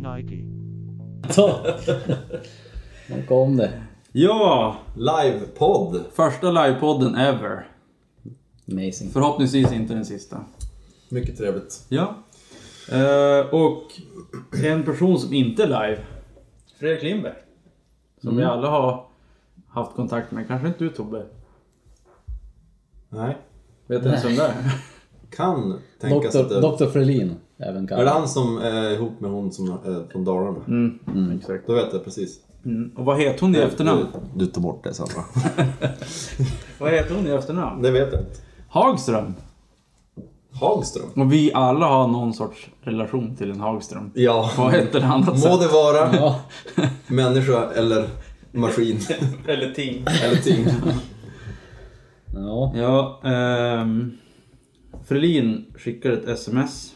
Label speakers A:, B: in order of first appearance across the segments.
A: Nike.
B: Så. Man kom det.
C: Ja,
D: Livepodd!
C: första livepodden ever.
B: Amazing.
C: Förhoppningsvis inte den sista.
D: Mycket trevligt.
C: Ja. Eh, och en person som inte är live. Fredrik Lindberg. Som vi alla har haft kontakt med. Kanske inte du Tobbe?
D: Nej.
C: Vet du ens vem det är?
D: Kan tänkas att
B: Doktor,
D: det...
B: Doktor Frelin. Även
D: Är det
B: kallad.
D: han som är ihop med hon som är från Dalarna?
C: Exakt.
D: Då vet jag precis.
C: Mm. Och vad heter hon i efternamn?
D: Du, du tar bort det Sandra.
C: Vad heter hon i efternamn?
D: det vet jag inte.
C: Hagström.
D: Hagström?
C: Och vi alla har någon sorts relation till en Hagström. På
D: Ja.
C: ett eller annat
D: Må
C: sätt.
D: det vara
B: Ja.
D: människa eller maskin
C: Eller ting.
D: eller ting.
B: ja.
C: Ja, ehm, Frelin skickade ett sms.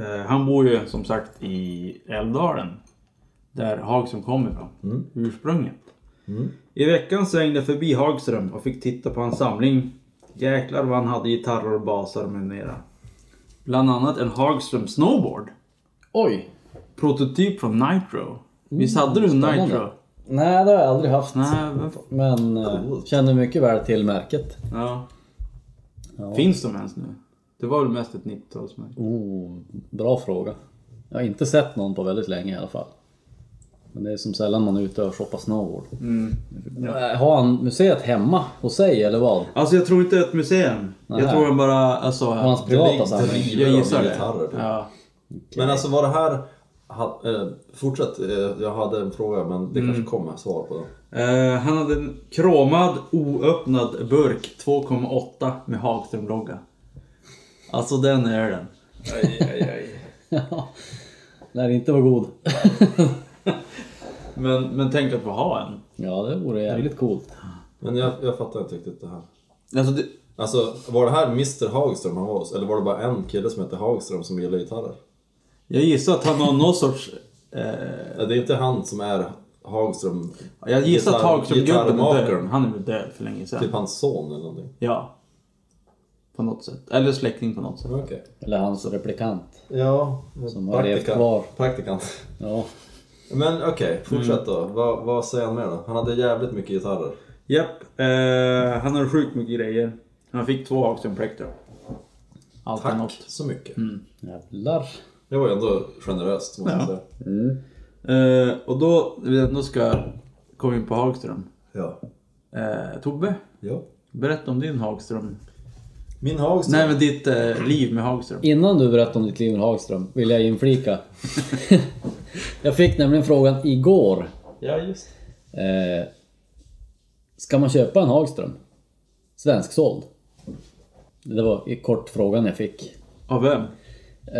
C: Eh, han bor ju som sagt i Älvdalen. Där Hagström kommer ifrån. Ursprunget. I veckan svängde jag förbi Hagström och fick titta på hans samling. Jäklar vad han hade gitarrer och basar med mera. Bland annat en Hagström Snowboard.
B: Oj.
C: Prototyp från Nitro. Visst hade du en
B: spännande.
C: Nitro?
B: Nej, det har jag aldrig haft.
C: Nej, vad f-
B: Men eh, känner mycket väl till märket.
C: ja.
B: Ja.
C: Finns de ens nu? Det var väl mest ett 90-talsmärke?
B: Oh, bra fråga. Jag har inte sett någon på väldigt länge i alla fall. Men det är som sällan man är ute och shoppar snowboard.
D: Mm.
B: Eh, Har han museet hemma hos sig eller vad?
C: Alltså jag tror inte ett museum.
B: Nej.
C: Jag tror han bara, alltså...
B: Hans privata samling.
C: jag gissar det.
D: Gitarrer, typ.
C: Ja.
D: Men alltså var det här... Ha, eh, fortsätt, eh, jag hade en fråga men
C: Mm.
D: det kanske kommer svar på den.
C: Eh, han hade en kromad oöppnad burk 2,8 med Hagström-logga. Alltså den är den.
B: Nej, det inte var god.
C: Men, men tänk att få ha en.
B: Ja, det vore jävligt coolt.
D: Men jag, jag fattar inte riktigt det här.
C: Alltså det,
D: Alltså var det här Mr Hagström han var hos? Eller var det bara en kille som hette Hagström som gillar gitarrer?
C: jag gissar att han har någon sorts... Eh,
D: Ja, Det är inte han som är Hagström...
C: jag gissar att
D: gitarr-
C: Hagström-gubben är död.
D: gitarrmakaren.
C: Han är väl död för länge sedan.
D: Typ hans son eller någonting.
C: Ja. På något sätt. Eller släkting på något sätt.
D: Okej.
B: Eller hans replikant.
D: Ja,
B: Som har levt kvar.
D: praktikant.
B: Ja,
D: Men okej, fortsätt
C: Mm.
D: då. Vad, vad säger han mer då? Han hade jävligt mycket gitarrer.
C: Japp, eh, han hade sjukt mycket grejer. Han fick två Hagström-präkter. Allt
D: Tack
C: han nått.
D: så mycket.
B: jävlar.
D: Det var ju ändå generöst måste
C: Mm. Ja.
D: jag säga.
C: Eh, och då, nu ska jag komma in på Hagström.
D: Ja.
C: Eh, Tobbe,
D: ja.
C: berätta om din Hagström.
D: Min Hagström.
C: Nej men ditt eh, liv med Hagström.
B: Innan du berättar om ditt liv med Hagström vill jag inflika. jag fick nämligen frågan igår.
C: Ja just
B: Eh, ska man köpa en Hagström? Svensksåld? Det var i kort frågan jag fick.
C: Av vem?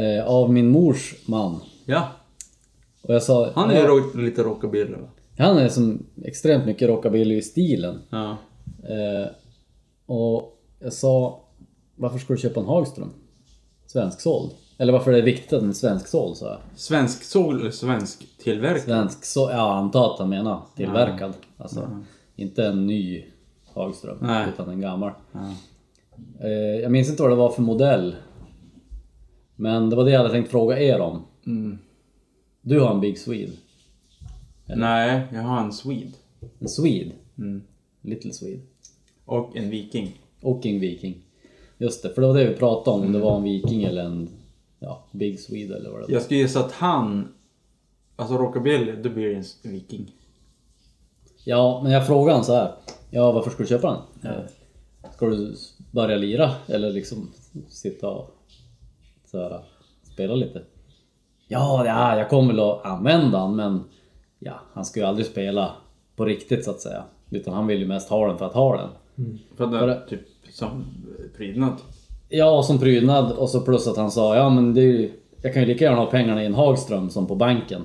B: eh, av min mors man.
C: Ja,
B: Och jag sa,
C: han är ju ro- lite rockabilly va?
B: han är som extremt mycket rockabilly i stilen.
C: Ja.
B: Eh, och jag sa, varför ska du köpa en Hagström? Svensksåld. Eller varför är det viktigt att den är svensksåld sa jag.
C: Svensk såg eller svensk tillverkad?
B: Svensksåld, ja jag antar att han menar tillverkad. Alltså, inte en ny Hagström,
C: Nej.
B: utan en gammal. Eh, jag minns inte vad det var för modell. Men det var det jag hade tänkt fråga er om. Du har en Big Swede.
C: Nej, jag har en Swede.
B: En Swede. Little Swede.
C: Och en Viking.
B: Och en viking. Just det, för det var det vi pratade om, om det var en viking eller en ja, Big Swede eller vad det var.
C: Jag skulle gissa att han... Alltså rockabilly, då blir det en Viking.
B: Ja, men jag frågade han så här. Ja, varför ska du köpa den? Ska du s- börja lira eller liksom sitta och så här, spela lite? Ja, ja, jag kommer väl att använda den men ja, han ska ju aldrig spela på riktigt så att säga. Utan han vill ju mest ha den för att ha den.
C: För att det
B: Var
C: är
B: det-
C: typ som prydnad.
B: Ja, och som prydnad och så plus att han sa ja men det är ju, jag kan ju lika gärna ha pengarna i en Hagström som på banken.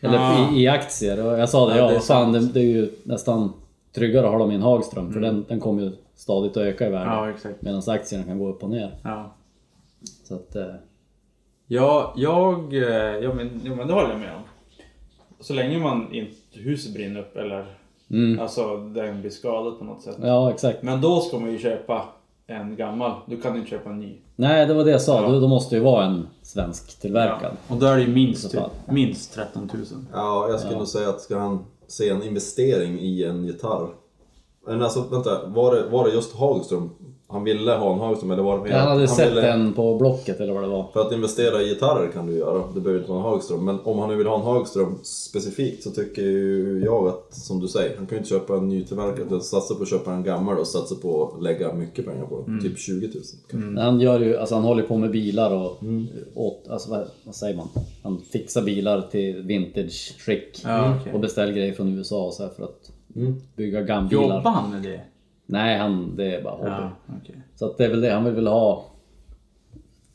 B: Eller
C: Ah.
B: i, i aktier. Och jag sa det,
C: Ja,
B: ja,
C: det är
B: fan det, det är ju nästan tryggare att ha dem i en Hagström för den, den kommer ju stadigt att öka i värde.
C: Mm. Ja, exakt.
B: Medan aktierna kan gå upp och ner.
C: Ja.
B: Så att, eh,
C: Ja, jag... eh, Ja men, ja, men det håller jag med om. Så länge man inte huset brinner upp eller... Alltså den blir skadad på något sätt.
B: Mm. ja exakt.
C: Men då ska man ju köpa en gammal. Du kan inte köpa en ny.
B: Nej, det var det jag sa.
C: Ja.
B: Då, då måste det ju vara en svensk
C: Ja.
B: tillverkad.
C: Och då är det ju
B: I
C: minst, typ
B: så fall.
C: minst 13 000.
D: Ja, jag skulle nog säga att ska han se en investering i en gitarr... Men alltså vänta, var det, var det just Hagström? Han ville ha en Hagström eller var det
B: Han hade sett
D: ville-
B: en på Blocket eller vad det var.
D: För att investera i gitarrer kan du göra, du behöver inte ha en Hagström. Men om han nu vill ha en Hagström specifikt så tycker ju jag att, som du säger, han kan ju inte köpa en nytillverkad. utan Satsa på att köpa en gammal och satsa på att lägga mycket pengar på den. Typ 20 000 kanske.
B: Han, gör ju, alltså han håller på med bilar och... Åt, alltså vad, vad säger man? Han fixar bilar till vintage-skick.
C: Ja, okej.
B: Och beställer grejer från USA och så här för att
D: Mm.
B: bygga gambilar.
C: Jobbar han med det?
B: Nej, han, det är bara hobby.
C: Ja, okej.
B: Så att det är väl det, han vill väl ha...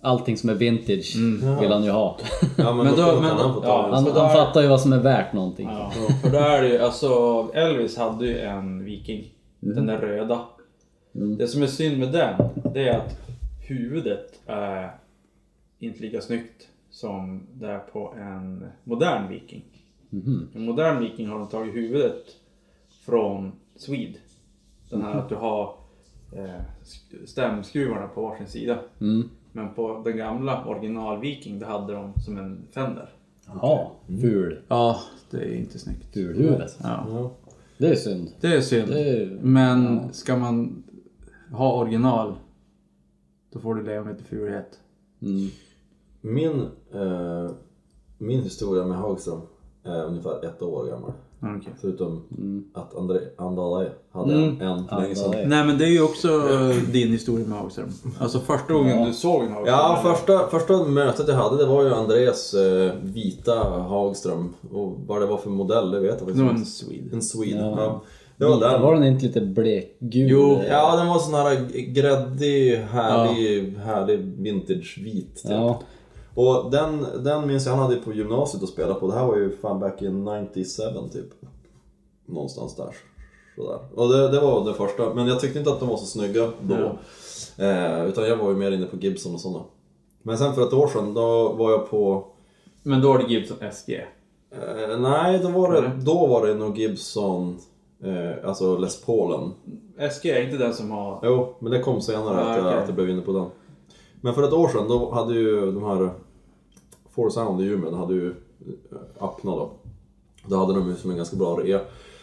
B: Allting som är vintage vill han ju ha.
D: Ja men,
C: Mm. Men
D: då,
C: då-
D: kan
C: men-
D: han få ta
C: ja,
D: den.
B: Han,
C: Så
B: han
C: där-
B: fattar ju vad som är värt någonting.
C: Ja, för då är det ju, alltså Elvis hade ju en viking, den där röda. Det som är synd med den, det är att huvudet är inte lika snyggt som det är på en modern viking. En modern viking har de tagit huvudet från Swede. Den här att du har eh, sk- stämskruvarna på varsin sida. Men på den gamla originalviking, det hade de som en fender.
B: Jaha, ful.
C: Ja, det är inte snyggt.
B: Fulhuvudet.
C: Ja.
D: Ja.
B: Det är synd.
C: Det är synd.
B: Det är-
C: Men ska man ha original då får du leva med lite fulhet.
B: mm,
D: Min, eh, min historia med Hagström är ungefär ett år gammal.
C: Ja, okej.
D: Förutom
B: mm.
D: att André Andalay hade
C: Mm.
D: en för länge sedan.
B: Andalay.
C: Nej men det är ju också din historia med Hagström. Alltså första gången du såg en Hagström.
D: Ja,
C: eller?
D: första, första mötet jag hade det var ju Andreas eh, vita Hagström. Och vad det var för modell, det vet
C: Det
D: jag faktiskt
C: var en
D: inte.
C: Swede.
D: En Swede. Ja. Det var
B: Vita,
D: den.
B: var den inte lite blekgul?
C: Jo.
D: Ja, den var sån här gräddig, härlig, härlig vintage-vit typ.
B: Ja.
D: Och den, den minns jag han hade på gymnasiet att spela på. Det här var ju fan back in 97 typ. Någonstans där. Sådär. Och det, det var det första. Men jag tyckte inte att de var så snygga då. Eh, utan jag var ju mer inne på Gibson och sådana. Men sen för ett år sedan, då var jag på...
C: Men då var det Gibson SG.
D: Eh, nej, då var, det,
C: Eller?
D: då var det nog Gibson, eh, alltså Les Paulen.
C: SG är inte den som har...
D: Jo, men det kom senare
C: Ah,
D: att, jag,
C: okej.
D: att jag blev inne på den. Men för ett år sedan då hade ju de här eh, Four Sound i Umeå, de hade ju eh, Apna då. Då hade de ju som en ganska bra rea.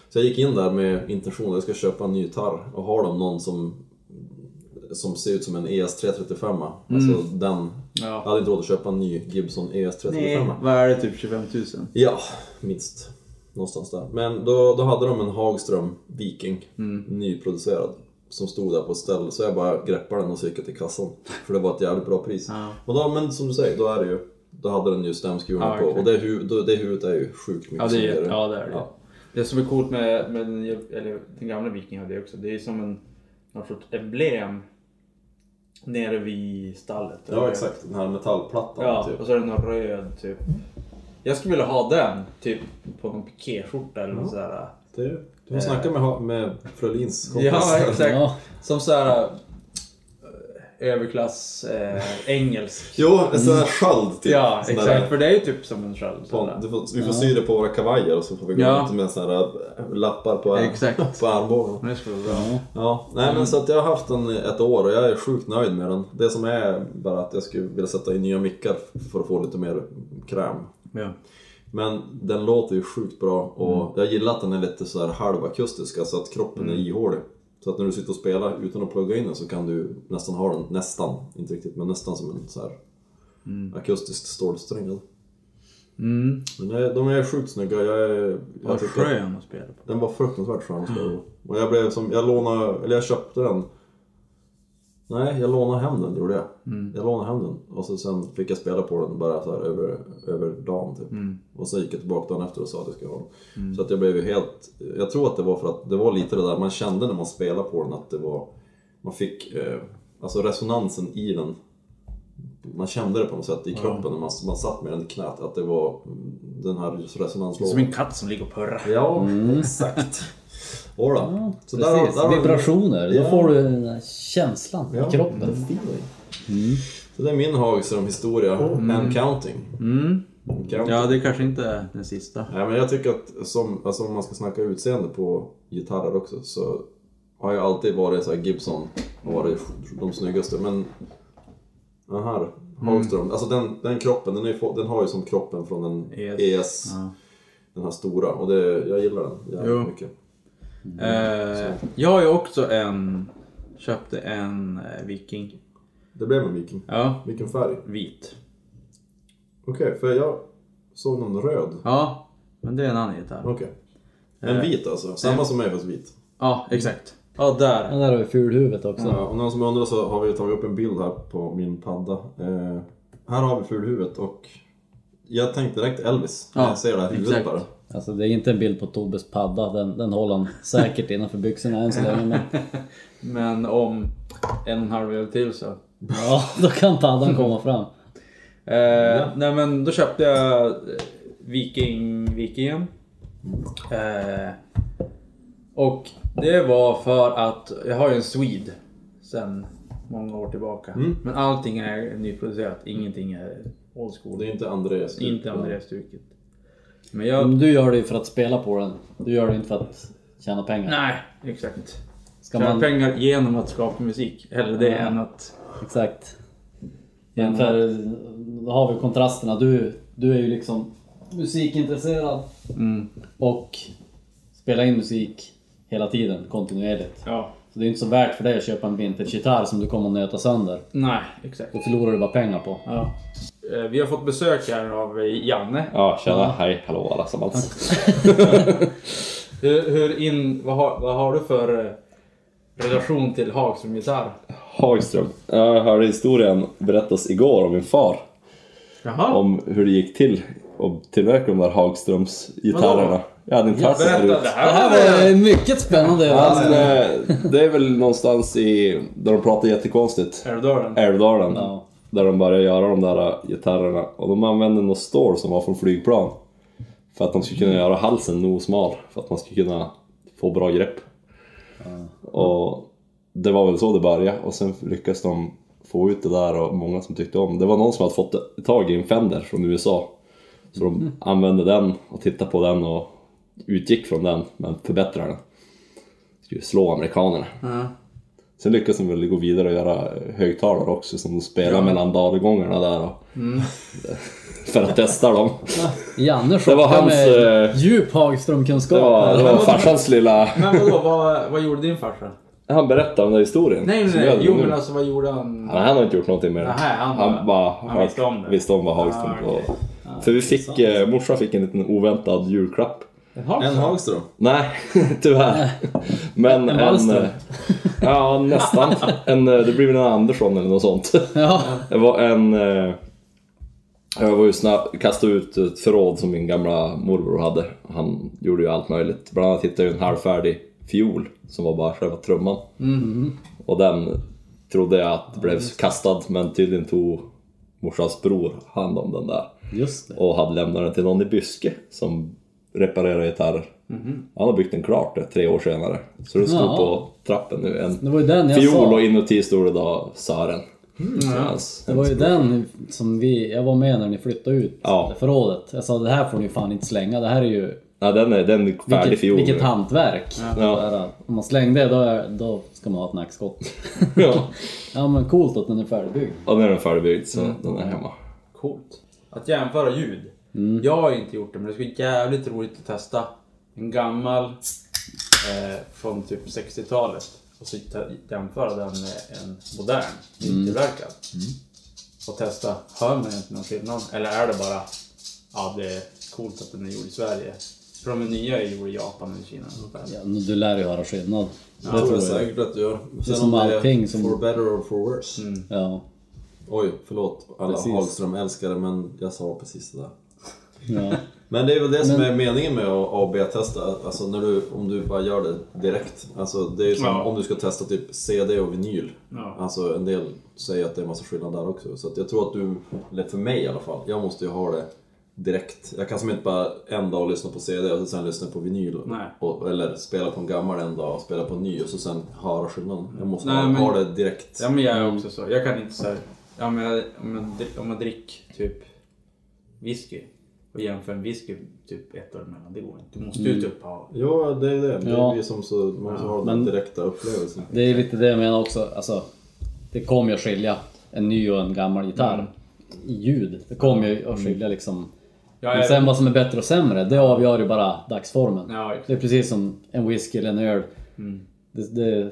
D: Så jag gick in där med intentionen att jag ska köpa en ny gitarr och har de någon som som ser ut som en E ES335, alltså
C: Mm.
D: den. Jag
C: Ja.
D: hade inte råd att köpa en ny Gibson E ES335.
C: Vad är det? Typ 25 000?
D: Ja, minst. Någonstans där. Men då, då hade de en Hagström Viking,
C: Mm.
D: nyproducerad, som stod där på ett ställe. Så jag bara greppade den och så gick jag till kassan. För det var ett jävligt bra pris.
C: Ja.
D: Och då, men som du säger, då är det ju... Då hade den ju stämskruvarna
C: Ja,
D: på.
C: okej.
D: Och det, hu, då, det huvudet är ju sjukt mycket
C: Ja det är,
D: snyggare.
C: ja, det, är det.
D: Typ Ja.
C: Det som är coolt med, med den, eller, den gamla Viking hade det också. Det är som en, någon sorts emblem nere vid stallet.
D: Ja, exakt. Den här metallplattan
C: Ja,
D: typ.
C: och så är det någon röd typ. Jag skulle vilja ha den typ på någon pikéskjorta eller något sådär.
D: Det är, ju- du har snackat med, Ha- med Frölins kompis.
C: Ja, exakt.
B: Ja.
C: Som såhär eh, överklass eh, engelsk.
D: Jo, en sån här sköld typ.
C: Ja,
D: Sån där-
C: exakt. För det är ju typ som en sköld.
D: Fan,
C: sådär.
D: Du får, vi får sy det på våra kavajer och så får vi gå
C: Ja.
D: runt med såna här lappar på,
C: Exakt.
D: på armbågarna.
C: Men Det skulle vara bra.
D: Ja, nej
C: Mm.
D: men så att jag har haft den i ett år och jag är sjukt nöjd med den. Det som är bara att jag skulle vilja sätta in nya mickar för att få lite mer kräm.
C: Ja.
D: Men den låter ju sjukt bra och
C: Mm.
D: jag gillar att den är lite så här halvakustisk, alltså att kroppen är ihålig. Så att när du sitter och spelar utan att plugga in den så kan du nästan ha den, nästan, inte riktigt, men nästan som en så här akustiskt stålsträngad.
C: Mm.
D: Men det- de är sjukt snygga. Jag, är- jag
C: Vad
D: tycker att-
C: skön att spela på.
D: den var fruktansvärt skön att spela på. Och jag blev som, jag lånade, eller jag köpte den. Nej, jag lånade hem den gjorde jag.
C: Mm.
D: Jag lånade hem den och så sen fick jag spela på den bara så här över, över dagen typ.
C: Mm.
D: Och så gick jag tillbaka dagen efter och sa att jag skulle ha den. Så att jag blev ju helt, jag tror att det var för att det var lite det där man kände när man spelade på den att det var, man fick, eh, alltså resonansen i den. Man kände det på något sätt i kroppen när man, man satt med den i knät, att det var mm, den här resonanslådan.
C: Som en katt som ligger och purrar.
D: Ja,
C: Mm.
D: exakt. Jodå. Så där,
B: Precis,
D: där har vi-
B: vibrationer. Då
D: Ja.
B: får du den där känslan
D: Ja, Mm.
B: i kroppen.
D: det är feeling.
E: Mm.
D: Så det är min Hagström-historia, and counting.
C: Mm.
D: Counting.
C: Ja, det kanske inte är den sista.
D: Nej, men jag tycker att som, alltså, om man ska snacka utseende på gitarrer också så har jag alltid varit så här Gibson
E: var det de snyggaste. Men den här,
C: Mm.
E: Hagström, alltså den, den kroppen, den, är, ju få- den har ju som kroppen från en
C: ES.
E: ES,
C: Ja.
E: den här stora. Och det, jag gillar den jävligt
C: Jo.
E: mycket.
C: Eh, jag har ju också en... Köpte en eh, Viking.
E: Det blev en viking.
C: Ja,
E: Vilken färg.
C: vit.
E: Okej, för jag såg någon röd.
C: Ja, men det är en annan gitarr.
E: Okej. En
C: Eh,
E: vit alltså, samma som mig fast vit.
C: Ja, exakt. Ja, där.
B: Den där har ju fulhuvudet också.
E: Ja, och någon som undrar så har vi tagit upp en bild här på min padda. Eh, här har vi fulhuvudet och jag tänkte direkt Elvis när
C: Ja,
E: jag ser det här huvudet
C: exakt.
E: bara.
B: Alltså det är inte en bild på Tobes padda, den, den håller han säkert innanför byxorna än så länge. Men,
C: Men om en och en halv öl till så.
B: ja, då kan paddan komma fram.
C: Eh, Nej men då köpte jag eh, Viking Vikingen. Eh, och det var för att jag har ju en Swede sen många år tillbaka. Men allting är nyproducerat, ingenting är old
E: Och
C: school.
E: det är inte Andreas.
C: Inte Andreas-stuket. Men jag...
B: Men Du gör det ju för att spela på den. Du gör det inte för att tjäna pengar.
C: Nej, exakt.
B: Ska
C: Tjäna
B: man...
C: pengar genom att skapa musik. Hellre det
B: Ja.
C: än att...
B: Exakt. Jämför, då har vi kontrasterna. Du, du är ju liksom musikintresserad
C: Mm.
B: och spelar in musik hela tiden, kontinuerligt.
C: Ja.
B: Så det är inte så värt för dig att köpa en vintagegitarr som du kommer att nöta sönder.
C: Nej, exakt.
B: Då förlorar du bara pengar på.
C: Ja. Eh, Vi har fått besök här av eh, Janne.
D: Ja, tjena, hej, hallå allesammans.
C: Hur, hur in, vad, har, vad har du för eh, relation till Hagström gitarr?
D: Hagström. Jag hörde historien berättas igår om min far.
C: Jaha,
D: Om hur det gick till att tillverka de där Hagströms gitarrerna.
C: Vadå?
D: Jag hade inte hört det förut.
C: berätta det
B: Det
C: här.
B: här är mycket spännande alltså.
D: Han,
B: överraskning.
D: eh, det är väl någonstans i, där de pratar jättekonstigt,
C: Älvdalen.
D: Älvdalen.
B: Ja.
D: Där de började göra de där eh, gitarrerna. Och de använde något stål som var från flygplan. För att de skulle kunna göra halsen nosmal. För att man skulle kunna få bra grepp. Och det var väl så det började. Och sen lyckades de få ut det där och många som tyckte om det. Det var någon som hade fått tag i en Fender från USA. Så de använde den och tittade på den och utgick från den men förbättrade den. Skulle slå amerikanerna.
C: Ja.
D: Sen lyckas de väl gå vidare och göra högtalare också som de spelar mellan dalgångarna där och
C: Mm.
D: för att testa dem.
B: Janne
D: Det var
B: chockar
D: hans,
B: med
D: eh,
B: djup
D: Det
B: Hagström-kunskap.
D: var, det var farsans lilla...
C: Men vadå, vad, vad gjorde din farsa?
D: Han berättade om den där historien.
C: Nej, nej,
D: som jag
C: nej.
D: hade
C: Jo,
D: nu.
C: men alltså vad gjorde han?
D: Nej, han har inte gjort någonting med det.
C: Nej, han bara-
D: bara
C: han visste om det.
D: visste om vad Hagström
C: Ah, okej.
D: var. För vi fick, eh, morsan fick en liten oväntad julklapp.
C: En
E: En
C: Hagström?
E: Hagström.
D: Nej, tyvärr. Men
B: En
D: en...
B: Wallström.
D: eh, ja, nästan. En, eh, det blir väl en Andersson eller något sånt.
B: Ja.
D: Det var en... eh, Jag var ju snabb, kastade ut ett förråd som min gamla morbror hade. Han gjorde ju allt möjligt. Bland annat hittade jag ju en halvfärdig fiol som var bara själva trumman.
B: Mm-hmm.
D: Och den trodde jag att blev kastad men tydligen tog morsans bror hand om den där.
B: Just det.
D: Och hade lämnat den till någon i Byske som reparerar gitarrer. Han har byggt den klart det, tre år senare. Så den stod
B: Mhm. Ja.
D: på trappen nu. En
B: Det var ju den jag
D: fiol och
B: sa. Mm,
D: inuti stod det då Sören. Så hans-
B: Det var ju den som vi, jag var med när ni flyttade ut
D: Ja.
B: förrådet. Jag sa det här får ni fan inte slänga, det här är ju...
D: Ja, den är, den är färdig
B: Vilket,
D: fiol.
B: vilket
D: nu.
B: hantverk! Så
D: Ja.
B: här, Om man slängde det då, är- då ska man ha ett nackskott.
D: ja.
B: Ja men coolt att den är färdigbyggd.
D: ja, nu är den färdigbyggd så
B: Mm.
D: den är hemma.
C: Coolt. Att jämföra ljud. Jag har inte gjort det, men det skulle vara jävligt roligt att testa. En gammal eh, från typ 60-talet. Och så ta- jämföra den med en modern, nytillverkad. Och testa, hör man inte någon skillnad? Eller är det bara, ja det är coolt att den är gjord i Sverige. För de är nya är gjord i Japan eller Kina.
B: Ja, men du lär ju höra skillnad.
E: Det tror jag
B: tror jag.
E: säkert att du gör. Sen
B: som
E: om är
B: allting som-
E: For better or for worse.
B: Ja.
E: Oj, förlåt alla
B: Precis.
E: Hagström-älskare men jag sa precis det där.
B: ja.
E: Men det är väl det som är meningen med att A och B-testa, alltså när du, om du bara gör det direkt. Alltså det är ju som
C: Ja.
E: om du ska testa typ CD och vinyl.
C: Ja.
E: Alltså en del säger att det är massa skillnad där också. Så att jag tror att du, eller för mig i alla fall, jag måste ju ha det direkt. Jag kan som inte bara en dag lyssna på CD och sen lyssna på vinyl.
C: Nej.
E: Och, eller spela på en gammal en dag och spela på en ny och så sen höra skillnaden. Jag måste
C: Nej,
E: ha,
C: men-
E: ha det direkt.
C: Ja men jag är också så. Jag kan inte säga, ja men jag, om, jag, dri- om jag drick typ whisky. Och jämför en whisky typ ett år mellan, det går inte. Du måste ju typ ha...
D: Ja, det är det. Det är
B: Ja.
D: vi som så, man måste ha
B: men-
D: den direkta upplevelsen.
B: Det är lite det jag menar också. Alltså, det kommer ju att skilja en ny och en gammal gitarr i ljud. Det kommer ju att skilja liksom.
C: Ja,
B: Men sen vad som är bättre och sämre, det avgör ju bara dagsformen.
C: Ja, exakt.
B: Det är precis som en whisky eller en öl. Det, det,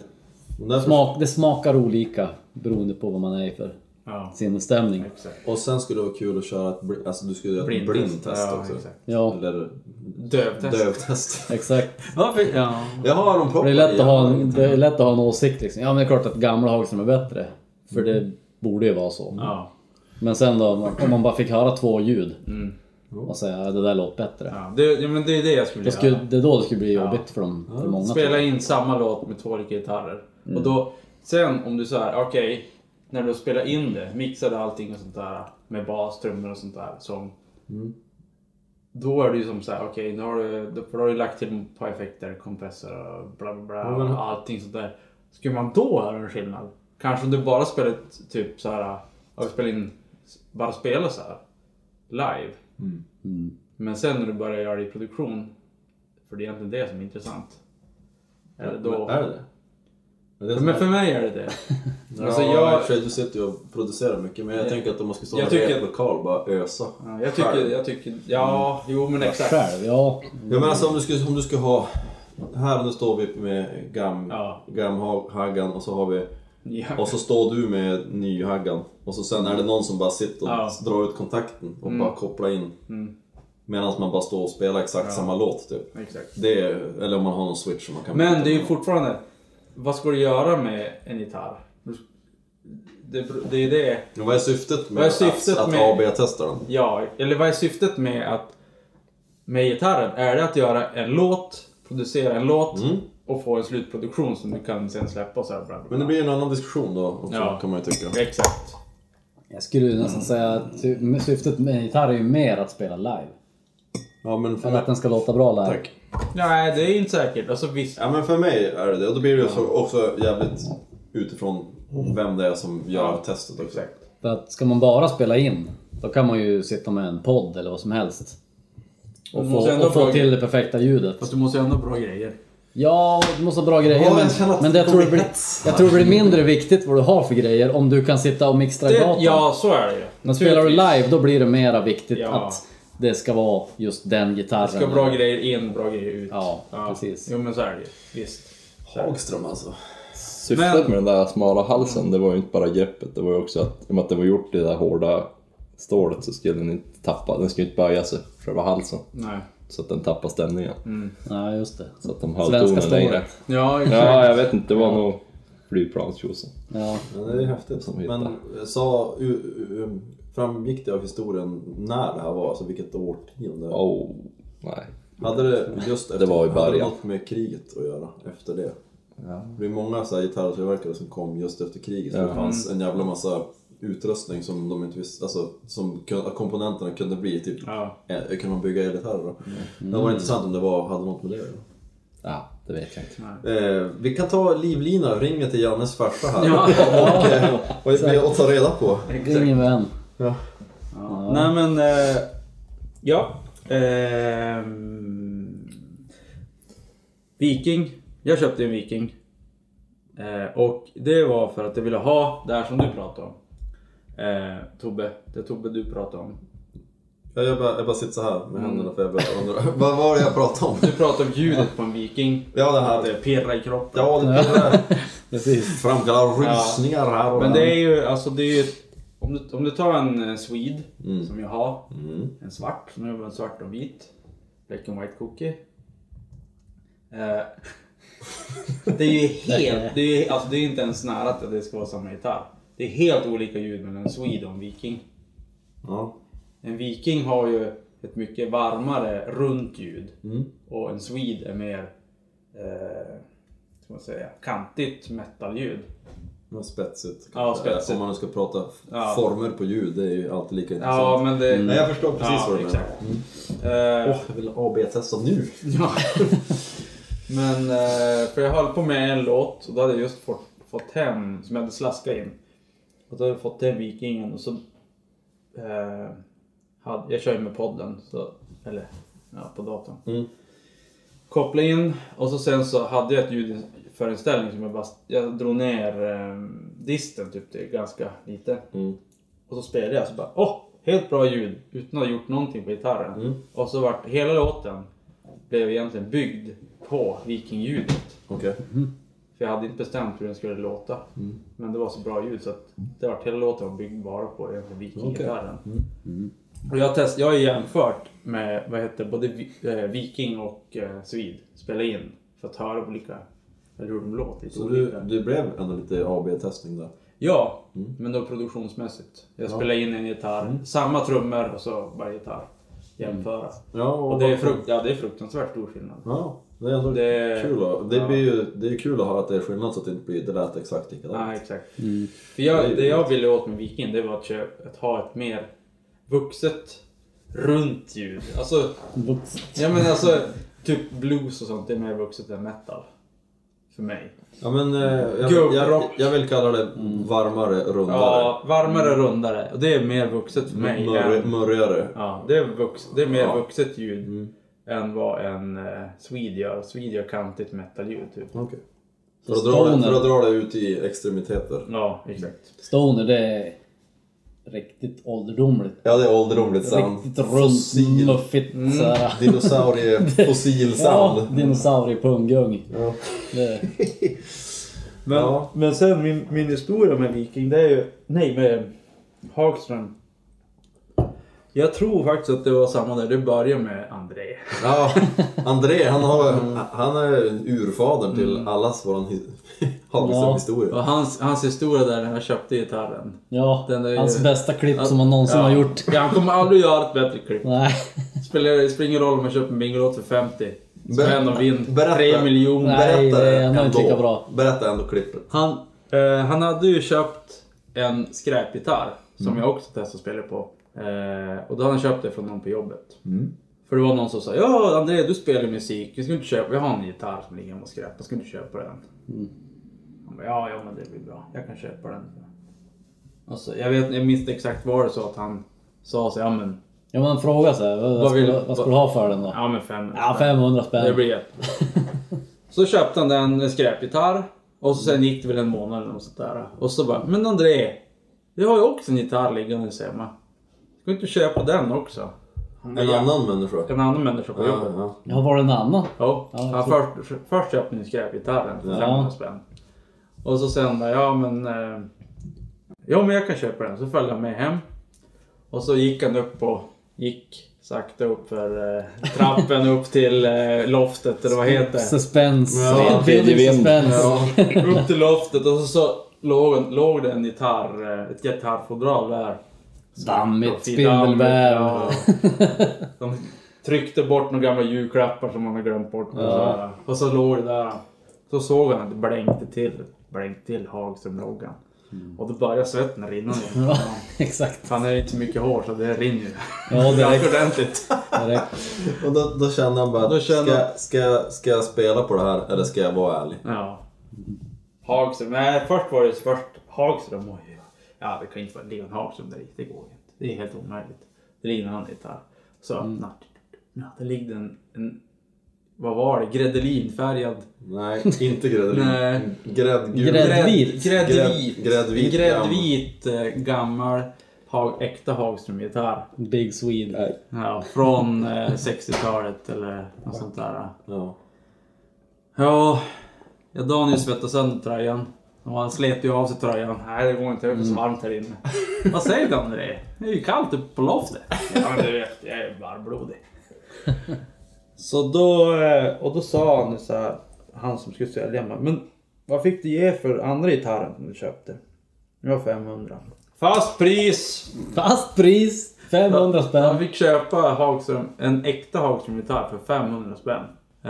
D: Men därför-
B: smak, det smakar olika beroende på vad man är i för
C: ja,
B: sinnesstämning.
C: exakt.
D: Och sen skulle det vara kul att köra ett, bli- alltså, du skulle göra ett blindtest,
C: ja,
D: också.
C: Exakt.
B: Ja,
D: Eller
C: Dövtest.
D: dövtest.
B: exakt.
C: Varför? Ja.
D: Jag har dem
B: Det är, lätt att ha en, det är lätt att ha en åsikt liksom. Ja men det är klart att gamla Hagström är bättre. För det borde ju vara så.
C: Ja.
B: Men sen då, om man bara fick höra två ljud och säga "Ja, det där låt bättre.
C: ja. Det, ja, men det är det jag skulle
B: Det,
C: göra.
B: skulle, det är då det skulle bli jobbigt för, dem, för många.
C: Spela in samma låt med två olika gitarrer. Och då, sen om du så här, okej, när du spelar in det, mixade allting och sånt där med bas, trummor och sånt där som Då är det ju som så här, okej, nu har du, då- för då har du lagt till ett par effekter, kompressor och bla bla bla,
D: men-
C: och allting sånt där. Skulle man då höra en skillnad? Kanske om du bara spelar ett, typ så här, ja, vi spelar in, bara spela så här live. Men sen när du börjar göra det i produktion, för det är egentligen det som är intressant. Eller då...
D: Är det det? Men det? är
C: Men
D: så
C: för
D: här-
C: mig är det det. alltså
D: ja, i och
C: jag,
D: för sig, du sitter ju och producerar mycket men jag tänker att om man ska stå i
C: Jag
D: en
C: tycker-
D: replokal bara ösa.
C: Ja, jag tycker, jag tycker, ja, jo men exakt.
B: Själv, ja.
D: Ja men alltså om du skulle, om du skulle ha... Här nu står vi med gam,
C: Ja.
D: gamhaggan och så har vi...
C: Ja.
D: Och så står du med nyhaggan. Och så sen är det någon som bara sitter och
C: Ja.
D: drar ut kontakten och bara kopplar in.
C: Mm.
D: Medan man bara står och spelar exakt samma låt typ.
C: exakt.
D: Det är, eller om man har någon switch som man kan...
C: Men det är ju fortfarande, vad ska du göra med en gitarr? Du- Det, det är det,
D: Men Vad är syftet med
C: Vad är syftet
D: att, att
C: med-
D: A och B-testa den?
C: ja, eller vad är syftet med att med gitarren? Är det att göra en låt, producera en låt
D: Mm.
C: och få en slutproduktion som du kan sen släppa och så här bla bla.
D: Men det blir en annan diskussion då också,
C: Ja.
D: kan man ju tycka.
C: Exakt.
B: Jag skulle ju nästan säga att sy- syftet med en gitarr är ju mer att spela live.
D: Ja men för
B: Än att den ska låta bra live.
D: Tack.
C: Nej, det är inte säkert. Alltså visst.
D: Ja men för mig är det det. Och då blir det ju så- också jävligt utifrån vem det är som gör testet också.
C: Exakt.
B: För att ska man bara spela in, då kan man ju sitta med en podd eller vad som helst. Och
C: Du måste
B: få,
C: ändå
B: och få
C: fråga-
B: till det perfekta ljudet.
C: Fast du måste ju ändå ha bra grejer.
B: Ja, du måste ha bra grejer.
D: Ja, jag känner
B: men
D: att
B: men det
D: det
B: jag, tror det
D: kommer
B: blir,
D: hets.
B: jag tror det blir mindre viktigt vad du har för grejer om du kan sitta och mixtra i
C: Det,
B: datorn.
C: ja, så är det ju.
B: Men spelar du
C: Naturligtvis.
B: live då blir det mera viktigt
C: Ja.
B: att det ska vara just den gitarren.
C: Det ska bra grejer in, bra grejer ut.
B: Ja, precis.
C: Jo men så är det ju. Visst.
D: Hagström alltså.
A: Syftet
C: Men-
A: med den där smala halsen, det var ju inte bara greppet. Det var ju också att, i och med att det var gjort i det där hårda stålet så skulle den inte tappa, den skulle inte böja sig, själva halsen.
C: Nej.
A: Så att den tappar stämningen.
B: Ja, just det.
A: Så att de
B: Svenska
A: höll tonen
B: stålet.
A: längre.
C: Ja,
A: Ja, jag vet inte. Det var nog flygplanstjosan.
B: Ja.
D: Men det är häftigt.
A: Som hittar.
D: Men sa, u, u, framgick det av historien när det här var? Alltså vilket årtionde?
A: Oh, nej.
D: Hade det just efter,
A: Det var i
D: Hade det
A: början.
D: något med kriget att göra efter det? Det är många så här gitarrtillverkare som kom just efter kriget. För det fanns en jävla massa utrustning som de inte visste, alltså som kun- att komponenterna kunde bli typ,
C: Ja.
D: eh, kunde man bygga elgitarrer då? Det var intressant om det var, hade något med det att göra.
A: Ja, det vet jag inte.
D: Eh, vi kan ta livlina och ringa till Jannes farsa här och, eh, och, och, och ta reda på.
B: Ingen vän.
C: Nej men... eh, ja. Ehm, viking. Jag köpte en Viking. Eh, och det var för att jag ville ha det här som du pratade om. Eh, Tobbe. Det Tobbe du pratade om.
D: Ja, Jag bara, jag bara sitter så här
C: Mm.
D: med händerna för jag bara undrar, vad var det jag pratade om?
C: Du pratade om ljudet på en Viking.
D: Ja, det
C: Att
D: här.
C: det pirrar i kroppen.
D: Ja, det blir
B: Precis.
D: framkallar rysningar här och
C: Men
D: där.
C: det är ju, alltså det är ju ett, om, du, om du tar en eh, Swede, som jag har, en svart, nu är en svart och vit, black and white cookie. Eh, det är ju helt, det är, ju- alltså det är inte ens nära att det ska vara samma gitarr. Det är helt olika ljud mellan en Swede och en Viking.
D: Ja.
C: En Viking har ju ett mycket varmare runt ljud och en Swede är mer, eh, ska man säga, kantigt metalljud.
D: Men spetsigt.
C: Ja,
D: kanske.
C: spetsigt.
D: Om man nu ska prata f-
C: Ja.
D: former på ljud, det är ju alltid lika intressant.
C: Ja men det...
D: Nej, jag förstår precis vad du menar. Mm.
C: exakt. Eh,
D: Åh, jag vill AB-testa nu!
C: ja. Men, eh, för jag höll på med en låt och då hade jag just fått, fått hem, som jag hade slaskat in. Och då hade jag fått hem Vikingen och så eh, hade, jag kör ju med podden, så, eller ja, på datorn.
D: Mm.
C: Kopplade in och så sen så hade jag ett ljudförinställning som jag bara, jag drog ner eh, disten typ till ganska lite.
D: Mm.
C: Och så spelade jag så bara, åh! Helt bra ljud utan att ha gjort någonting på gitarren.
D: Mm.
C: Och så vart hela låten blev egentligen byggd på vikingljudet.
D: Okej.
C: För jag hade inte bestämt hur den skulle låta.
D: Mm.
C: Men det var så bra ljud så att det var hela låten var byggd bara på egentligen vikinggitarren.
D: Mm.
C: Och jag, har test, jag har jämfört med vad heter, både vi, eh, viking och eh, svid. Spela in för att höra olika, eller hur de låter. Lite
D: Så
C: olika.
D: du, du blev ändå lite AB-testning där?
C: Ja,
D: Mm.
C: men då produktionsmässigt. Jag spelar in en gitarr, samma trummor och så bara gitarr. Jämföra.
D: Ja,
C: Och det är, frukt, ja, det är fruktansvärt stor skillnad.
D: Ja, det är ändå
C: Det-
D: kul. att- Det,
C: ja.
D: blir ju, det är ju kul att höra att det är skillnad så att det inte blir, det lät exakt likadant.
C: Nej, exakt. För jag, det jag ville åt med Viking, det var att, köpa, att ha ett mer vuxet, runt ljud. Alltså,
B: Vuxet.
C: ja men alltså, typ blues och sånt, det är mer vuxet än metal. För mig.
D: Ja, men, eh, jag,
C: Gubbrock.
D: jag, jag, vill kalla det varmare, rundare,
C: Ja, varmare, rundare. Och det är mer vuxet för mig.
D: mörre-
C: än,
D: mörrigare.
C: ja, Mm. det, är vux, det är mer
D: Ja.
C: vuxet ljud än vad en eh, Swede gör. Swede gör kantigt metalljud typ.
D: Okej. För, att dra det,
B: Stoner.
D: för att dra det ut i extremiteter.
C: Ja, exakt.
B: Stoner det är riktigt ålderdomligt.
D: Ja, det är ålderdomligt sound.
B: Riktigt runt,
D: Fossil.
B: muffigt
C: Mm.
B: såhär.
D: Dinosaurie, fossil
B: Ja,
D: sound.
B: dinosaurie punggung.
D: Ja.
B: Det-
C: Men,
D: Ja.
C: men sen min, min historia med Viking, det är ju... Nej, med Hagström. Jag tror faktiskt att det var samma där. Det började med André.
D: Ja, André han, har, han är urfadern till allas våran hi- Hagelström-historia.
C: Och hans, hans historia där när han köpte gitarren.
B: Ja,
C: Den är ju-
B: hans bästa klipp som han någonsin har gjort.
C: Ja, han kommer aldrig göra ett bättre klipp.
B: Nej,
C: Spelar, det spelar ingen roll om man köper en Bingolott för 50. Spänn och vinn.
D: Berätta.
C: 3 miljoner.
B: Nej. det är ändå inte lika bra.
D: Berätta ändå klippet.
C: Han, eh, han hade ju köpt en skräpgitarr som jag också testade att spela på. Eh, och då hade han köpt det från någon på jobbet. För det var någon som sa ja André du spelar ju musik, vi ska inte köpa, jag har en gitarr som ligger hemma och skräpar, ska du inte köpa den? Han bara, ja, ja men det blir bra, jag kan köpa den. Och så, jag, vet, jag minns inte exakt vad det sa att han sa så, ja men,
B: ja, man frågar såhär, vad, vad,
C: vill-
B: ska du- vad ska du ha för den då?
C: ja, men fem.
B: Ja, 500
C: Det
B: spänn.
C: blir jättebra. Så köpte han den en skräpgitarr och så sen gick det väl en månad eller något sånt där. Och så bara, men André, jag har ju också en gitarr liggandes hemma. Ska du inte köpa den också?
D: En annan människa.
C: En annan människa på jobbet.
D: Ja,
B: Ja, var det en annan?
C: Ja,
B: Ja, jag
C: han först, först köpte han skräpgitarren för 500 spänn. Och så sen bara, ja men... Eh, ja men jag kan köpa den. Så följde han med hem. Och så gick han upp på... Gick sakta upp för eh, trappen upp till eh, loftet eller vad heter det?
B: Suspens.
A: Ja,
B: Building
A: tredje vind.
B: suspens.
C: Ja, upp till loftet och så, så låg, låg det en gitarr, eh, ett gitarrfodral där.
B: Dammigt,
C: Och dammigt,
B: spindelväv.
C: ja. De tryckte bort några gamla julklappar som man hade glömt bort. Och, så, och så låg det där. Så såg han att det blänkte till. Blänkte till Hagström-loggan. Och då började svetten rinna ner.
B: Mm. Ja, exakt.
C: Han är inte så mycket hår så det rinner ju.
B: Ja, direkt.
C: Ganska ordentligt.
B: direkt.
D: Och då, då kände han bara,
C: Då kände
D: ska, ska, ska jag spela på det här eller ska jag vara ärlig?
C: Ja. Mm. Hagström. Nej, först var det först Hagström. Och, ja, det kan inte vara Leon Hagström där i. Det går ju inte. Det är helt omöjligt. Det ligger en annan gitarr. Så öppnar. Ja, det ligger en, en... Vad var det? Gredelinfärgad.
D: Nej, inte gräddvin.
C: Nej.
D: Gräddgul.
B: Grädd- Gräddvit.
C: Gräddvit. Gräddvit.
D: Grädd- gräddvit,
C: Gräddvit, eh, gammal. Hag, äkta Hagström-gitarr.
B: Big Swede.
A: Nej.
C: Ja, från eh, 60-talet eller något sånt där.
D: Ja.
C: Ja, ja Daniel svettade sönder tröjan. Och han slet ju av sig tröjan. Nej, det går inte. Det är för så varmt här inne. Vad säger du om det? Det är ju kallt uppe på loftet. Ja, men du vet. Jag är varmblodig. Så då, eh, och då sa han så här, han som skulle sälja mig. Men vad fick du ge för andra gitarren som du köpte? Det var 500. Fast pris!
B: Fast pris. 500
C: Han
B: spänn.
C: fick köpa Hagström, en äkta Hagström-gitarr för 500 spänn.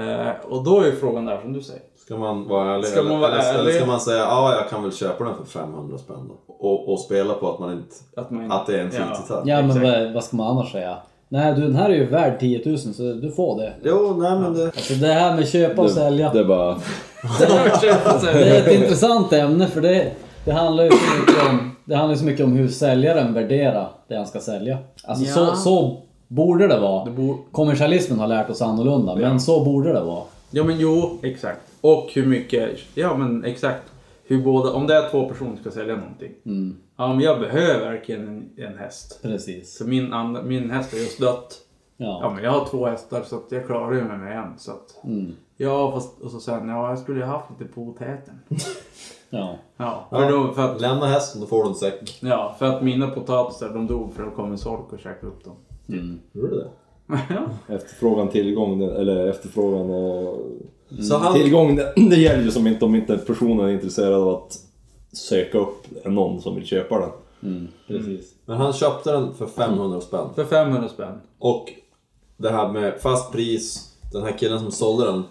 C: Eh, och då är ju frågan där som du säger.
D: Ska man vara ärlig?
C: Ska man
D: eller-
C: vara
D: eller, eller
C: ärlig?
D: ska man säga, ja jag kan väl köpa den för 500 spänn då? Och, och spela på att, man inte,
C: Att, man,
D: att det är en
C: Ja.
D: skitgitarr?
B: Ja, men
C: exakt.
B: vad, vad ska man annars säga? Nej du, den här är ju värd 10 000 så du får det.
D: Jo, nej men det...
B: Så det här med köpa och sälja.
A: Det är bara...
C: Det är
B: Det är ett intressant ämne för det, det handlar ju så mycket om Det handlar ju så mycket om hur säljaren värderar det han ska sälja. Alltså
C: Ja.
B: så, så borde det vara.
C: Det bor-
B: Kommersialismen har lärt oss annorlunda, men så borde det vara.
C: Ja men jo, exakt. Och hur mycket, ja men exakt. Hur båda, om det är två personer som ska sälja någonting. Ja men jag behöver verkligen en, en häst.
B: Precis.
C: Så min, and, min häst har just dött. Ja
B: Ja.
C: men jag har två hästar så att jag klarar ju mig med en. Så att, Ja fast, och så sen, ja jag skulle ju haft lite på potäten.
B: ja.
C: Ja, för,
D: Ja.
C: Då, för, att,
D: Lämna hästen, då får du en säck.
C: ja, för att mina potatisar de dog för att det kom en sork och käkade upp dem.
D: Gjorde det?
C: ja.
A: Efterfrågan, tillgång, eller efterfrågan och...
C: Mm.
D: Så han...
A: Tillgång, det, det gäller ju som inte om inte personen är intresserad av att söka upp någon som vill köpa den.
B: Precis.
D: Men han köpte den för 500 spänn.
C: För 500 spänn.
D: Och det här med fast pris, den här killen som sålde den,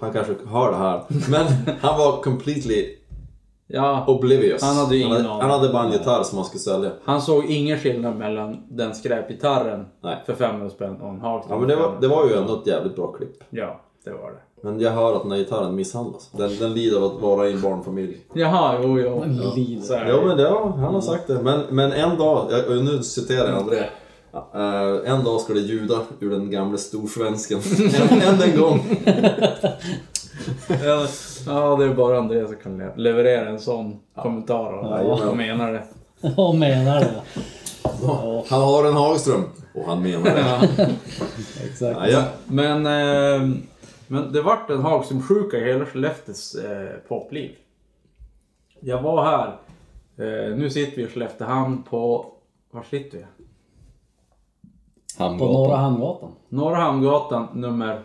D: han kanske hör det här. Men han var completely
C: Ja,
D: oblivious.
C: Han hade ju ingen
D: han hade,
C: aning.
D: han hade bara en gitarr som han skulle sälja.
C: han såg ingen skillnad mellan den skräpgitarren
D: Nej.
C: för 500 spänn och en Harkton.
D: Ja men det var, det var ju ändå ett jävligt bra klipp.
C: Ja, det var det.
D: Men jag hör att den här gitarren misshandlas. Den, den lider av att vara i en barnfamilj. Mm.
C: Jaha, jo, jo.
B: lider.
C: Så är det.
D: Ja men det, ja, han har sagt det. Men, men en dag, jag- och nu citerar jag André. Eh, en dag ska det ljuda ur den gamle storsvensken. Än en gång.
C: Ja, det är bara Andreas som kan le- leverera en sån kommentar om vad han menar det.
B: Vad menar du?
D: Han har en Hagström. Och han menar det.
B: Exakt.
D: Ja, ja.
C: Men, eh, men det vart en Hagströmsjuka i hela Skellefteås eh, popliv. Jag var här. Eh, nu sitter vi i Skelleftehamn på... Var sitter vi?
B: På
A: Hamngatan.
B: Norra Hamngatan.
C: Norra Hamngatan nummer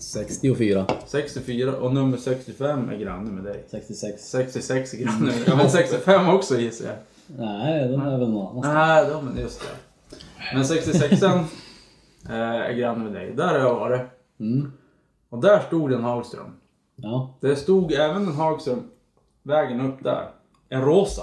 B: 64.
C: 64 och nummer 65 är granne med dig.
B: 66.
C: 66 är granne med dig. Men 65 också gissar jag.
B: Nej, den är väl någon annanstans.
C: Nej, de, men just det. Men 66an eh, är granne med dig. Där har jag varit.
B: Mm.
C: Och där stod en Hagström.
B: Ja.
C: Det stod även en Hagström vägen upp där. En rosa.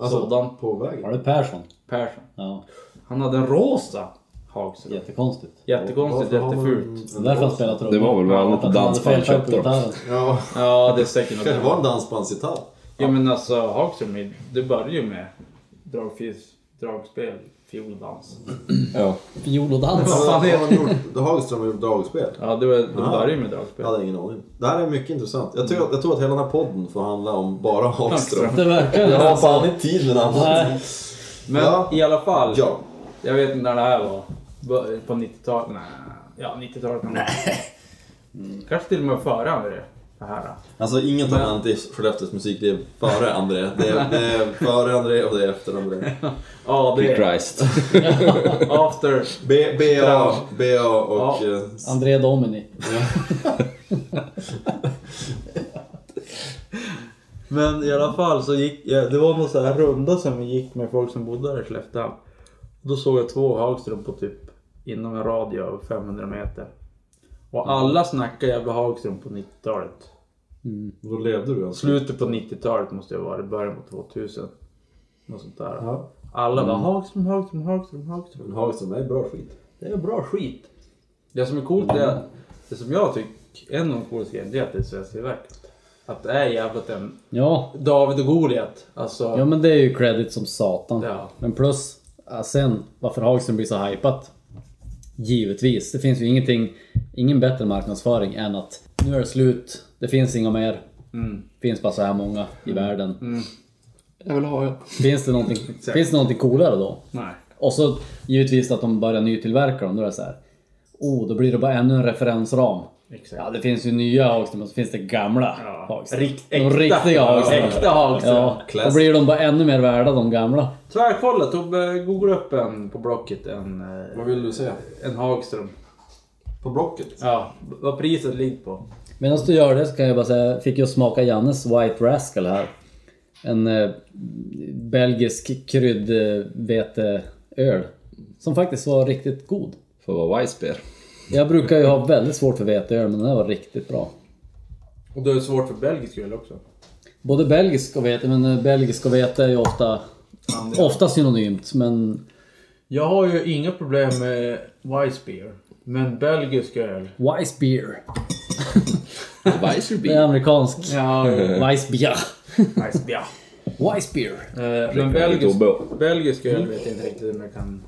D: Alltså-
C: Sådan
D: på vägen.
B: Var det Persson?
C: Persson.
B: Ja.
C: Han hade en rosa Hagström.
B: Jättekonstigt.
C: Jättekonstigt,
D: Varför har man
C: jättefult.
D: en- en
B: Därför han
D: dans-
B: spelar trummor.
A: Det var väl vad han
B: Att
A: ett
B: han hade fel
A: dansband
B: färg på
A: köpte dem.
B: gitarren.
D: Ja,
C: Ja, det är säkert
D: det var
C: något.
D: en dansbandsgitarr.
C: Ja men alltså Hagström, är- det börjar ju med dragfis, dragspel, fioldans.
A: Ja.
B: Fiol och dans.
C: Ja.
D: Alltså, Vad
C: fan
D: fan
C: är-
D: har de gjort? Det Hagström har gjort dragspel.
C: Ja, det, var, det
D: Ah.
C: börjar ju med
D: Jag
C: dragspel.
D: hade ingen aning. Det här är mycket intressant. Jag, tycker, jag tror att hela den här podden får handla om bara Hagström.
B: Det verkar
D: Jag
B: det.
D: har fan inte tid med något annat.
B: Nej.
C: Men
D: Ja.
C: i alla fall.
D: Ja.
C: Jag vet inte när det här var. Bör- På 90-talet? Nej. Ja, 90-talet. Nej. Mm. Kanske till och med före André. Det här.
D: Alltså inget har hänt i Skellefteås musikliv före André. Det är, det är före André och det är efter André.
C: Ja, det är
A: Christ.
C: after.
D: B- BA, BA och... eh,
B: André Domini.
C: Men i alla fall så gick ja, det var någon sån här runda som vi gick med folk som bodde där i Skellefteå. Då såg jag två Hagström på typ inom en radie av 500 meter. Och alla snackade jävla Hagström på 90-talet.
D: Då levde du alltså?
C: Slutet på 90-talet måste jag vara, början på 2000. Något sånt där.
D: Ja.
C: Alla bara Hagström, Hagström, Hagström, Hagström.
D: Men Hagström är bra skit.
C: Det är bra skit. Det som är coolt är att, det som jag tycker, en av de coolaste grejerna, det är att det är svensktillverkat. Att det är jävligt en
B: Ja.
C: David och Goliat. Alltså,
B: ja, men det är ju credit som satan.
C: Ja.
B: Men plus, ja, sen varför Hagström blir så hypat. Givetvis. Det finns ju ingenting, ingen bättre marknadsföring än att nu är det slut, det finns inga mer.
C: Mm.
B: Finns bara så här många i världen.
C: jag vill ha det.
B: Finns, det någonting, finns det någonting coolare då?
C: Nej.
B: Och så givetvis att de börjar nytillverka dem, då är det så här. Oh, då blir det bara ännu en referensram.
C: Exakt.
B: Ja, det finns ju nya Hagström och så finns det gamla
C: Ja.
B: Hagström.
C: Rikt-
B: de
C: äkta.
B: riktiga Hagström.
C: Äkta Hagström.
B: Ja, då
D: Classic.
B: blir de bara ännu mer värda de gamla.
C: Tvärkolla, Tobbe googla upp en på Blocket, en, eh,
D: Vad vill du säga?
C: en Hagström.
D: På Blocket?
C: Ja, vad priset ligger på.
B: Medan du gör det så kan jag bara säga, jag fick just smaka Jannes White Rascal här. En eh, belgisk kryddveteöl. Som faktiskt var riktigt god.
A: För att vara Weissbier.
B: Jag brukar ju ha väldigt svårt för veteöl men den här var riktigt bra.
C: Och det är svårt för belgisk öl också.
B: Både belgisk och vete, men eh, belgisk och vete är ju ofta, ofta synonymt. Men
C: Jag har ju inga problem med Weissbier. Men belgisk öl.
B: Weiss beer.
A: Weissbier.
B: Det är amerikansk.
C: Ja,
B: Weiss beer.
C: Weissbier.
B: Wise beer.
C: Eh, Men belgisk, belgisk öl vet jag inte riktigt om jag kan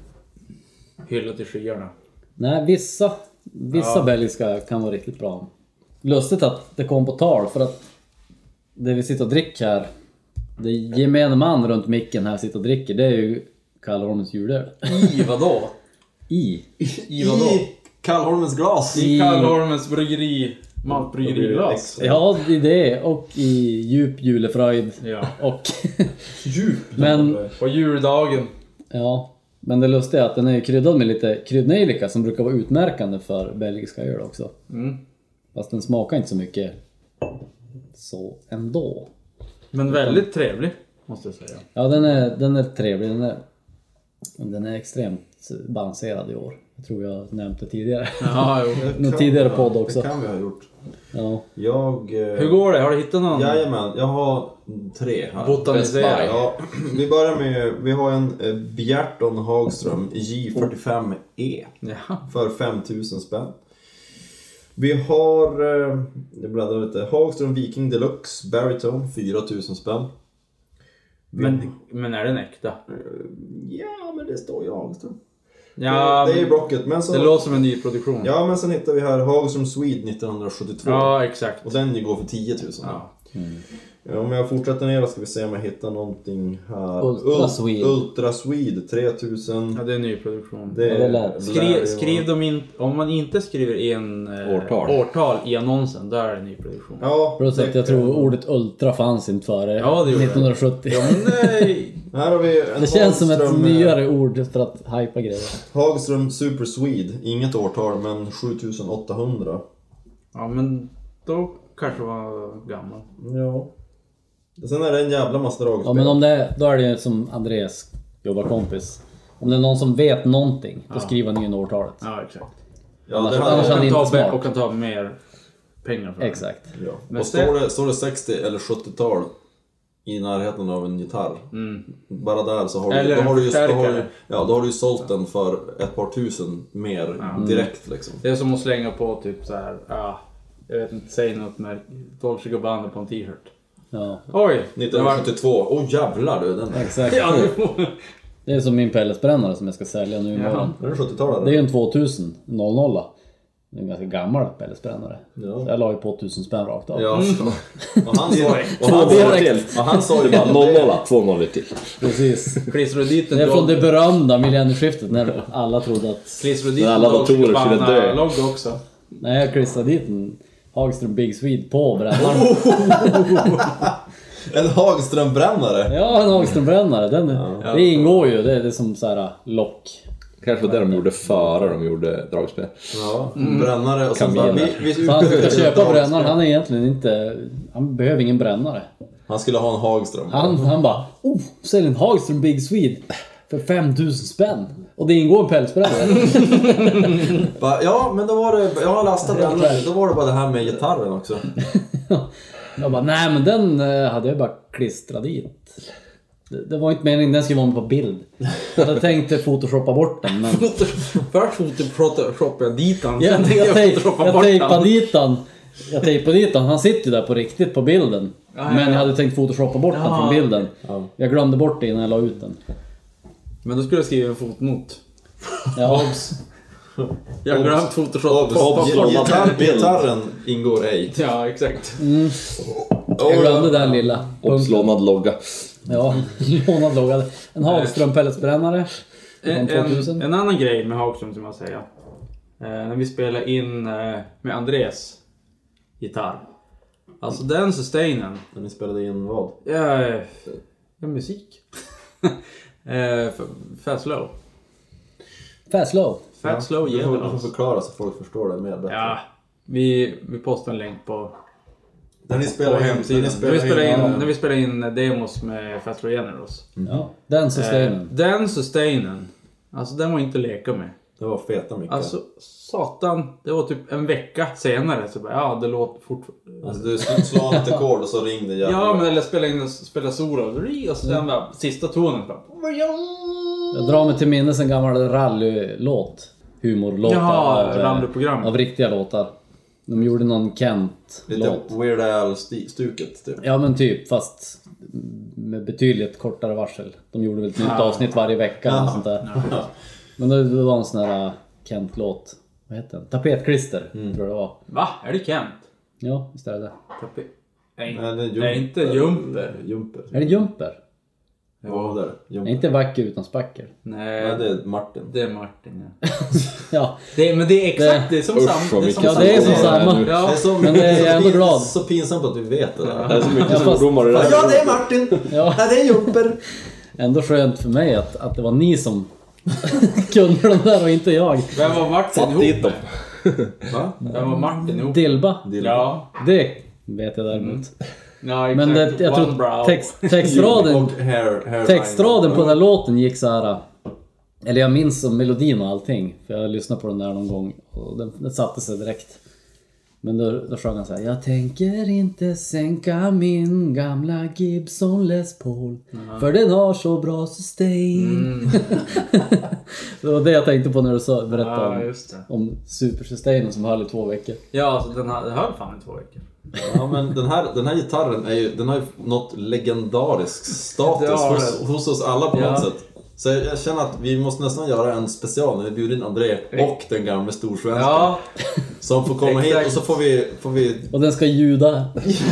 C: hylla till skyarna.
B: Nej, vissa, vissa
C: Ja.
B: belgiska kan vara riktigt bra. Lustigt att det kom på tal för att det vi sitter och dricker här, det gemene man runt micken här sitter och dricker, det är ju Karlholmens julöl.
C: I vadå?
B: I.
C: I vadå?
D: Kallholmens glas!
C: I Karlholmens bryggeri, maltbryggeriglas.
B: Ja, i det och i djup julefröjd.
C: Ja.
B: Och,
D: Djup!
B: men,
C: Och juldagen.
B: ja, men det lustiga är att den är ju kryddad med lite kryddnejlika som brukar vara utmärkande för belgiska öl också.
C: Mm.
B: Fast den smakar inte så mycket så ändå.
C: Men väldigt trevlig, måste jag säga.
B: Ja, den är, den är trevlig. Den är, den är extremt balanserad i år. Jag tror jag nämnt det tidigare.
C: Ja, jo.
B: Någon tidigare podd också.
D: Det kan vi ha gjort.
B: Ja,
D: Jag... eh,
C: Hur går det? Har du hittat någon?
D: Jajamän, jag har tre här.
C: Botanisera.
B: Best
D: Ja, vi börjar med, vi har en eh, Bjerton Hagström E. J45E
C: Ja.
D: för 5000 spänn. Vi har, eh, jag bläddrar lite, Hagström Viking Deluxe Baritone 4000 spänn. Vi-
C: Men, men är den äkta?
D: Ja, men det står ju Hagström.
C: Ja,
D: det är ju blocket, men så...
C: det låter som en ny produktion.
D: Ja, men sen hittar vi här Hagström Swede 1972.
C: Ja, exakt.
D: Och den går för 10 000.
C: Ja.
D: Ja, om jag fortsätter ner då ska vi se om jag hittar någonting här.
B: Ultra
D: Ul-
B: Swede.
D: Ultra Swede 3000.
C: ja, det är en ny produktion.
D: Det
B: Ja, det lät-
C: Skriv, skriv dem in, om man inte skriver in eh,
A: Årtal.
C: årtal i annonsen, då är det en ny produktion. Ja,
D: Ja,
B: plus att jag
D: säkert.
B: tror ordet ultra fanns inte före
C: Ja, det gjorde det.
B: 1970.
C: men, eh,
D: Här har vi en
B: Det känns som ett
D: Hagström, eh,
B: nyare ord för att hypa grejer.
D: Hagström Super Swede. Inget årtal, men 7800.
C: ja, men då kanske var gammal.
D: Ja. Sen är det en jävla massa dragspel.
B: Ja men om det är, då är det ju som Andreas jobbarkompis. Om det är någon som vet någonting, då skriver han in årtalet.
C: Ja, exakt.
D: Ja,
B: annars-
D: det här,
B: annars
C: Och
B: hade
C: kan,
B: inte
C: ta, be-
B: smart.
C: och kan ta mer pengar för den.
B: Exakt.
D: ja.
C: Men det-
D: Och står det, står det 60 eller 70-tal i närheten av en gitarr.
B: Mm.
D: Bara där så har du,
C: Eller
D: då har
C: en
D: du, just, då har du,
C: förstärkare.
D: ja, då har du ju sålt den för ett par tusen mer direkt liksom.
C: Det är som att slänga på typ så här, ja, jag vet inte, säg något med 12-20 band på en t-shirt.
B: Ja,
C: Oj! det var-
D: 1972, åh jävlar du, den är...
B: exakt.
C: Ja, det-
B: Det är som min pelletsbrännare som jag ska sälja nu imorgon.
D: Den är
B: Det är
D: 70-talare.
B: ju en 2000, 00. Det är en ganska gammal pelletsbrännare.
D: Ja.
B: Så Jag la ju på 1000 spänn rakt av.
D: Ja, och han sa,
C: Direkt.
D: och han,
A: Två
D: sa-
A: direkt.
D: och han sa ju bara
A: 0-0, 2-0 till.
B: Precis.
C: Klistrar du dit en
B: Det är från det
C: dog-
B: berömda millennieskiftet när alla trodde att...
C: klistrar du dit
A: När
C: en
A: alla datorer skulle dö.
C: Dolce-Gabbana-logg också?
B: Nej, jag klistrade dit en Hagström Big Swede på brännaren.
C: Oh!
D: En Hagströmbrännare!
B: Ja, en Hagströmbrännare. Den, Det ingår ju. Det är det är som så här lock.
A: Kanske var det de gjorde före de gjorde dragspel.
D: Ja, brännare och sen bara,
A: Kaminer.
D: vi, vi, vi
B: Så han
D: behöver
B: ska
D: ett
B: köpa
D: dragspel.
B: brännaren, han är egentligen inte... Han behöver ingen brännare.
D: Han skulle ha en Hagström.
B: Han, han bara oh, sälj en Hagström Big Swede för 5000 spänn. Och det ingår en pälsbrännare.
D: Bara, ja, men då var det, jag har lastat den,
B: klart.
D: då var det bara det här med gitarren också.
B: Jag bara, nej men den eh, hade jag bara klistrat dit. Det, det var inte meningen, den skulle vara med på bild. Jag tänkte photoshoppa bort den men...
C: Först photoshoppade jag dit han, sen
B: Jag,
C: tänkte
B: jag,
C: jag
B: tej,
C: photoshoppa
B: jag
C: bort
B: tejpade
C: han.
B: dit han. Jag tejpade dit han. Han sitter ju där på riktigt på bilden.
C: ja,
B: Men
C: ja.
B: jag hade tänkt photoshoppa bort han från bilden. Jag glömde bort det innan jag la ut den.
C: Men då skulle jag skriva en fotnot.
B: Ja,
C: Jag har glömt photoshop.
D: Gi-
A: formad
D: gitarr,
A: bild.
D: gitarren ingår ej.
C: Ja, exakt.
B: jag glömde den lilla punkten.
A: Uppslånad logga.
B: Ja,
C: Mm.
B: lånad låg. En Hagström pelletsbrännare.
C: En,
B: Från
C: en,
B: 2000.
C: en annan grej med Hagström som jag säger. Eh, när vi spelar in eh, med Andres gitarr. Alltså den sustainen.
D: När ni spelade in vad?
C: Eh, ja, musik. eh, f- fat slow.
B: Fast low.
C: Fat slow
D: Du
C: ger
D: får,
C: väl
D: du får
C: oss.
D: förklara så folk förstår det mer bättre.
C: Ja, vi, vi postar en länk på
D: När ni
C: på
D: spelar in, när
C: hemsidan.
D: ni
C: När vi spelar in, när
D: ja.
C: vi spelar in eh, demos med Fast Row Generals.
B: Ja, den
C: Mm. Eh,
B: sustainen.
C: den sustainen, alltså den var inte att leka med.
D: Det var feta mycket. Alltså,
C: Alltså satan, det var typ en vecka senare så bara, ja det låter fortfarande...
D: Alltså, du sl- slår an ett ackord och så ringde jävlar.
C: Ja men eller spela in spela solo, ri, och sen
D: Mm.
C: bara sista tonen bara...
B: Jag drar mig till minnes en gammal rallylåt. Humorlåtar
C: Ja,
B: av, eh,
C: rallyprogram.
B: av riktiga låtar. De gjorde någon
D: Lite
B: Kent-låt.
D: Weird Al-stuket typ.
B: Ja men typ, fast med betydligt kortare varsel. De gjorde väl ett
C: Ah.
B: nytt avsnitt varje vecka eller sånt där. Men det det var en sån här äh, Kent-låt. Vad heter den? Tapetklister,
C: Mm.
B: tror jag det var.
C: Va? Är det Kent?
B: Ja, visst är det det.
C: Tappe... Nej,
D: Nej, det är
C: Nej, inte Jumper.
D: Jumper.
B: Är det Jumper?
D: Ja, där.
B: Nej,
D: Jumper.
B: inte Vacker utan Spacker.
C: Nej, det...
D: Nej, det är Martin.
C: det är Martin. Ja.
B: Ja,
C: Det, men det är exakt det, är som
A: Usch,
C: samma.
A: vad
C: Det är som
A: mycket
B: ja det är som
A: det är
B: samma.
A: nu.
D: Det
C: Ja.
D: är så,
B: Men det är jag ändå
D: så-
B: glad.
D: så pinsamt att vi vet det där.
A: Det är så mycket
B: Ja, fast-
A: svordomar i det här.
D: Ja, det är Martin! Ja, det är Jumper!
B: Ändå skönt för mig att, att det var ni som kunde den där och inte jag.
C: Vem var Martin
A: Satt dit
C: ihop
A: dem.
C: med?
D: Va?
C: Vem var Martin ihop med?
B: Dilba,
D: Dilma.
C: Ja,
B: det vet jag däremot.
C: ja exakt.
B: Men det, jag
C: Mm. One
B: tror
C: brow.
B: text, textraden,
D: Och hair, hairline.
B: textraden på den här låten gick så här. äh, Eller jag minns som melodin och allting. För jag lyssnade på den där någon gång och den, den satte sig direkt. Men då, då sjöng han så här. Jag tänker inte sänka min gamla Gibson Les Paul. För den har så bra system.
C: Mm.
B: Det var det jag tänkte på när du sa, berättade
C: Ja,
B: om,
C: just det.
B: om Super Sustainer som höll i två veckor.
C: Ja, alltså den här- det höll fan i två veckor.
D: Ja, men den här, den här gitarren är ju, den har ju något legendarisk status
C: Det har
D: hos,
C: den.
D: hos oss alla på
C: Ja.
D: något sätt. Så jag, jag känner att vi måste nästan göra en special när vi bjuder in André och den gamle storsvensken
C: Ja,
D: som får komma hit
C: Exakt.
D: och så får vi... Får vi
B: Och den ska ljuda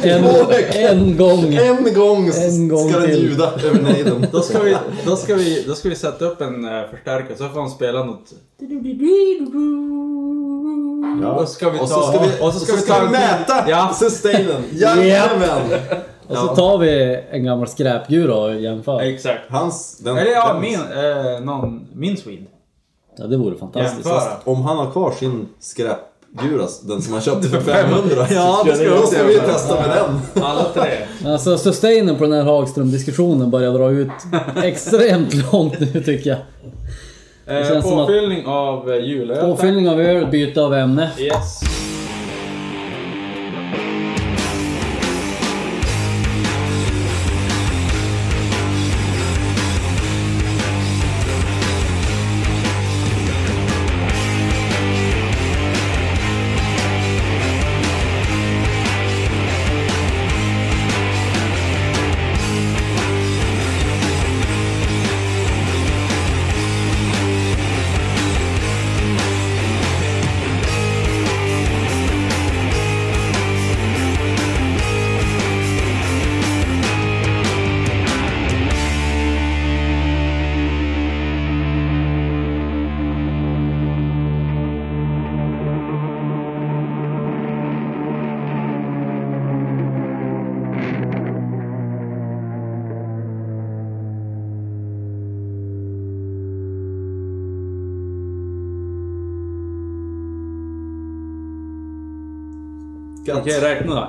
B: en,
D: Två veckor.
B: en gång.
D: en gång, s-
B: En gång
D: ska den
B: till.
D: ljuda över nejden.
C: då ska, vi, då, ska vi, då ska vi sätta upp en eh, förstärkare så får han spela något...
D: Ja.
C: Och så ska vi
D: och så
C: ta-
D: ska vi, och så ska vi,
C: ta en bild.
D: mäta
C: Ja.
D: sustainen. Jajamän!
B: Och så tar vi en gammal skräpdjur och jämför.
C: Exakt.
D: Hans... Den,
C: Eller ja,
D: den-
C: min, eh, någon, min Swede.
B: Ja, det vore fantastiskt.
C: Jämföra.
D: Om han har kvar sin skräpdjuras, den som han köpte för 500.
C: Ja, det ska jag
D: då
C: också
D: ska vi
C: göra.
D: testa med den.
C: Alla tre.
B: Alltså sustainen på den här Hagström-diskussionen börjar dra ut extremt långt nu tycker jag.
C: Eh,
B: känns som att-
C: påfyllning av eh, julöl. tack.
B: Påfyllning av öl, byte av ämne.
C: Yes. Okej, räkna då. En.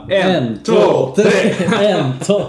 B: En, två, tre! En, två.